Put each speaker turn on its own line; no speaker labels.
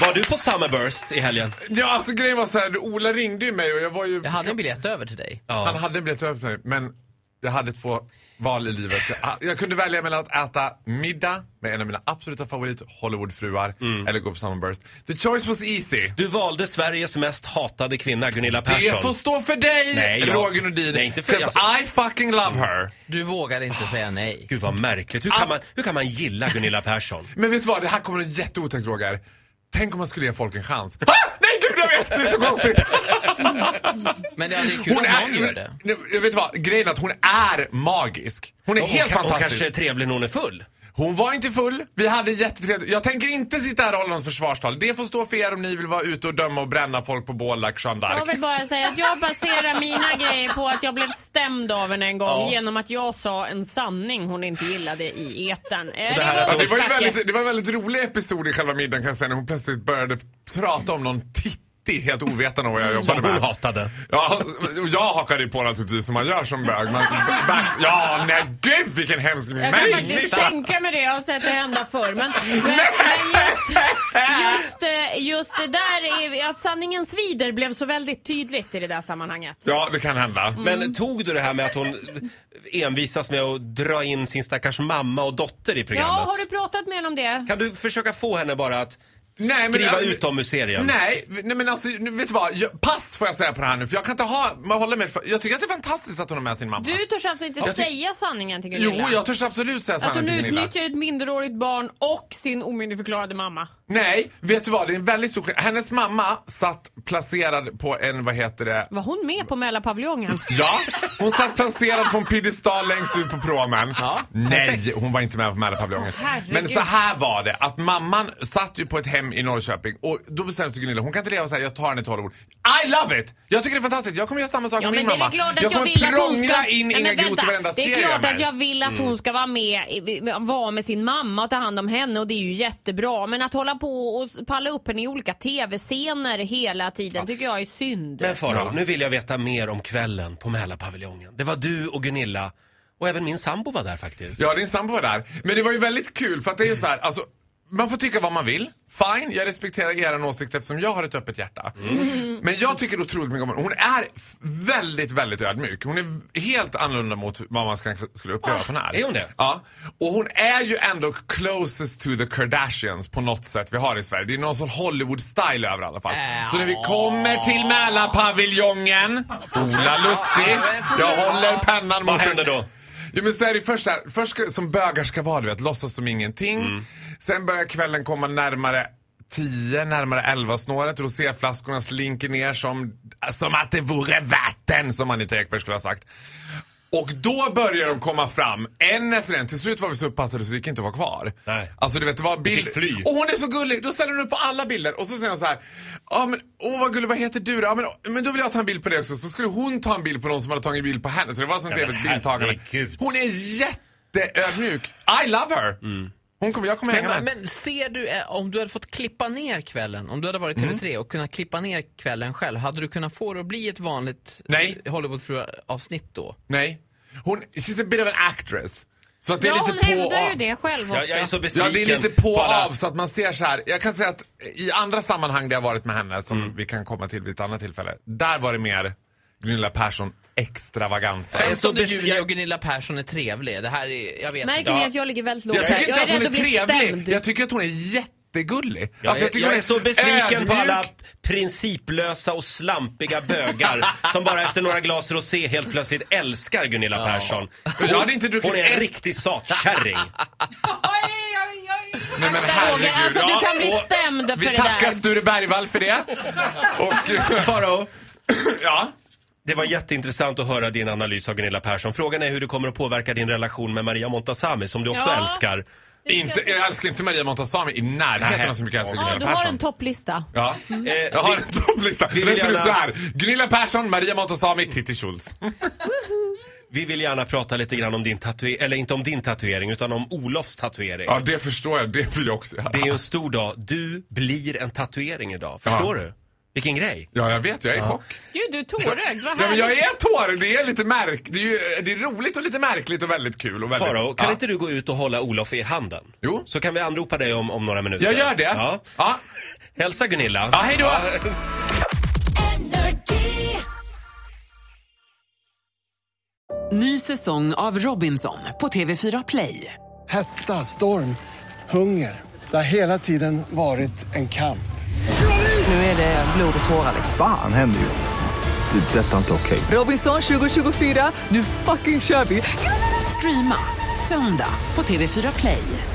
Var du på Summerburst i helgen?
Ja, alltså grejen var så här, Ola ringde ju mig och jag var ju...
Jag hade en biljett över till dig.
Han hade en biljett över för mig, men jag hade två val i livet. Jag, jag kunde välja mellan att äta middag med en av mina absoluta favorit Hollywoodfruar eller gå på Summerburst. The choice was easy.
Du valde Sveriges mest hatade kvinna, Gunilla Persson.
Det får stå för dig,
Nej, jag-
Roger Nordin.
Nej, inte för-
'cause I fucking love her.
Du vågade inte säga nej.
Gud vad märkligt. Hur kan, man, hur kan man gilla Gunilla Persson?
Men vet du vad, det här kommer en jätteotänkt Roger. Tänk om man skulle ge folk en chans. Ah! Nej gud jag vet! Det är så konstigt!
Men det är kul om någon gör det.
Nej, Jag vet vad, grejen är att hon är magisk. Hon är
Hon,
helt
ka- hon
fantastisk.
kanske är trevlig när hon är full.
Hon var inte full, vi hade jättetrevligt. Jag tänker inte sitta här och hålla något försvarstal. Det får stå för er om ni vill vara ute och döma och bränna folk på Bålack, Jeanne
Jag
d'Arc.
vill bara säga att jag baserar mina grejer på att jag blev stämd av henne en gång genom att jag sa en sanning hon inte gillade i etern. Eh, Det,
här är-
Ja,
var
det, var ju
uppförsbacke.
väldigt, det var en väldigt rolig episod i själva middagen kan jag säga när hon plötsligt började prata om någon titti helt ovetande om vad jag
Som
jobbade
hon
med.
hatade.
Ja, och jag hakade ju på naturligtvis som man gör som bög. Man, back, ja, nej gud vilken hemsk
Jag kan faktiskt
människa!
tänka mig det, jag har sett det hända förr. Men, men, men just, just, eh, just det där, är- att sanningen svider blev så väldigt tydligt i det där sammanhanget.
Ja, det kan hända.
Men tog du det här med att hon envisas med att dra in sin stackars mamma och dotter i
Ja,
programmet?
har du pratat med henne om det?
Kan du försöka få henne bara att
Nej, men-
skriva ut dem ur serien?
Nej, nej men alltså, nu, vet du vad? Jag, pass får jag säga på det här nu för jag kan inte ha, man håller med. För, jag tycker att det är fantastiskt att hon har med sin mamma.
Du törs alltså inte säga sanningen till
Jo,
Gunilla?
jag törs absolut säga
Att hon
sanningen till Gunilla.
utnyttjar ett minderårigt barn och sin omyndigförklarade mamma.
Nej, vet du vad? Det är en väldigt stor skillnad. Hennes mamma satt placerad på en, vad heter det?
Var hon med på Mälarpaviljongen?
Ja, hon satt placerad på en piedestal längst ut på promen. Nej, hon var inte med på Mälarpaviljongen.
herregud.
Men så här var det, att mamman satt ju på ett hem i Norrköping och då bestämde sig Gunilla, hon kan inte leva så här, jag tar henne till Hollywood. I love it! Jag tycker det är fantastiskt, jag kommer göra samma sak
Ja,
med min
men det är väl
mamma.
klart att jag,
jag kommer
vill att hon
prångla
ska...
in
Nej, men
Inga Groth i
vänta.
varenda
Det
serie Mm.
är klart
med.
att jag vill att hon ska vara med, i- vara med sin mamma och ta hand om henne och det är ju jättebra. Men att hålla på och s- palla upp henne i olika tv-scener hela tiden tycker jag är synd.
Men Farao, nu vill jag veta mer om kvällen på Mälarpaviljongen. Det var du och Gunilla och även min sambo var där faktiskt.
Ja, din sambo var där. Men det var ju väldigt kul för att det är ju så här, alltså man får tycka vad man vill. Fine, jag respekterar er åsikt eftersom jag har ett öppet hjärta.
Mm.
Men jag tycker otroligt mycket om henne. Hon är f- väldigt, väldigt ödmjuk. Hon är v- helt annorlunda mot vad man ska- skulle uppleva att hon är.
Ah, är hon det?
Ja. Och hon är ju ändå closest to the Kardashians på något sätt vi har i Sverige. Det är någon sån Hollywood-style över i alla fall.
Äh,
Så när vi kommer till Mälarpaviljongen, Ola Lustig, jag håller pennan
Vad
mot
händer då?
Jo men så är det ju först här, först ska, som bögar ska vara du vet, låtsas som ingenting.
Mm.
Sen börjar kvällen komma närmare 10, närmare 11 snåret och då ser jag flaskorna slinker ner som, som att det vore vatten som Anita Ekberg skulle ha sagt. Och då börjar de komma fram, en efter en. Till slut var vi så upppassade så det gick inte att vara kvar.
Nej.
Alltså du vet, det var bild...
fick fly.
Och hon är så gullig! Då ställer hon upp på alla bilder och så säger hon så här. Ja men, åh vad gullig, vad heter du då? Ja, men, men då vill jag ta en bild på dig också. Så skulle hon ta en bild på någon som hade tagit en bild på henne. Så det var sånt
Ja, men
trevligt bildtagande.
herregud.
Hon är jätteödmjuk. I love her!
Mm.
Hon kommer, jag kommer hänga
Men,
med.
men ser du, eh, om du hade fått klippa ner kvällen, om du hade varit TV3 och kunnat klippa ner kvällen själv, hade du kunnat få det att bli ett vanligt eh,
Nej.
Hollywoodfru-avsnitt då?
Nej. Hon, she's a bit of an actress. Så att det är
ja, hon
lite på och
hävdar ju
av.
det själv också.
Jag, jag är så
Ja,
besviken
det är lite på och
alla-
av så att man ser så här. Jag kan säga att i andra sammanhang där jag varit med henne som vi kan komma till vid ett annat tillfälle. Där var det mer Gunilla Persson extravaganser. Alltså,
Jag är så
15
bes-
juni
jag-
och Gunilla Persson är trevlig. Det här är, jag vet inte.
Märker ni att jag ligger väldigt lågt
Jag tycker inte
här?
att
är
hon
rädd
är
att bli
trevlig.
stämd.
Jag tycker att hon är jättegullig.
Jag,
Alltså,
är-
tycker
jag
hon
är så besviken på alla
ödmjuk.
principlösa och slampiga bögar som bara efter några glas rosé helt plötsligt älskar Gunilla Persson. Hon,
Jag hade inte druckit
hon är en
ett-
riktig satkärring.
Nej, men herregud.
Roger, alltså
Ja,
du kan bli
och
stämd för
Vi
det där.
tackar Sture Bergvall för det. Och
Farao,
ja.
det var jätteintressant att höra din analys av Gunilla Persson. Frågan är hur det kommer att påverka din relation med Maria Montazami som du också
Ja.
älskar.
Inte, jag älskar inte Maria Montazami i närheten av så mycket jag älskar
Ja, du
Gunilla
har en
Persson.
topplista.
Ja.
Eh,
Jag har
vi-
en topplista.
vi
Den
vill
ser ut
gärna-
så här. Gunilla Persson, Maria Montazami, Titti Schultz.
Vi vill gärna prata lite grann om din tatuering, eller inte om din tatuering utan om Olofs tatuering.
Ja, det förstår jag. Det vill jag också göra.
Det är ju en stor dag. Du blir en tatuering idag. Förstår
Ja.
du? Vilken grej.
Ja, jag vet. Jag är i chock.
Gud, du är tårögd. Vad
Ja, men
härligt.
jag är tårögd. Det är lite märk... Det är, ju, det är roligt och lite märkligt och väldigt kul. Och väldigt...
Faro, kan
ja.
inte du gå ut och hålla Olof i handen?
Jo.
Så kan vi anropa dig om, om några minuter.
Jag gör det.
Ja.
ja.
Hälsa Gunilla.
Ja, hej då.
Ny säsong av Robinson på TV4 Play.
Hetta, storm, hunger. Det har hela tiden varit en kamp.
Nu är det blod och tårar. liksom.
Fan händer just nu. Det. är Detta är inte okej.
Robinson 2024, nu fucking kör vi! Streama söndag på TV4 Play.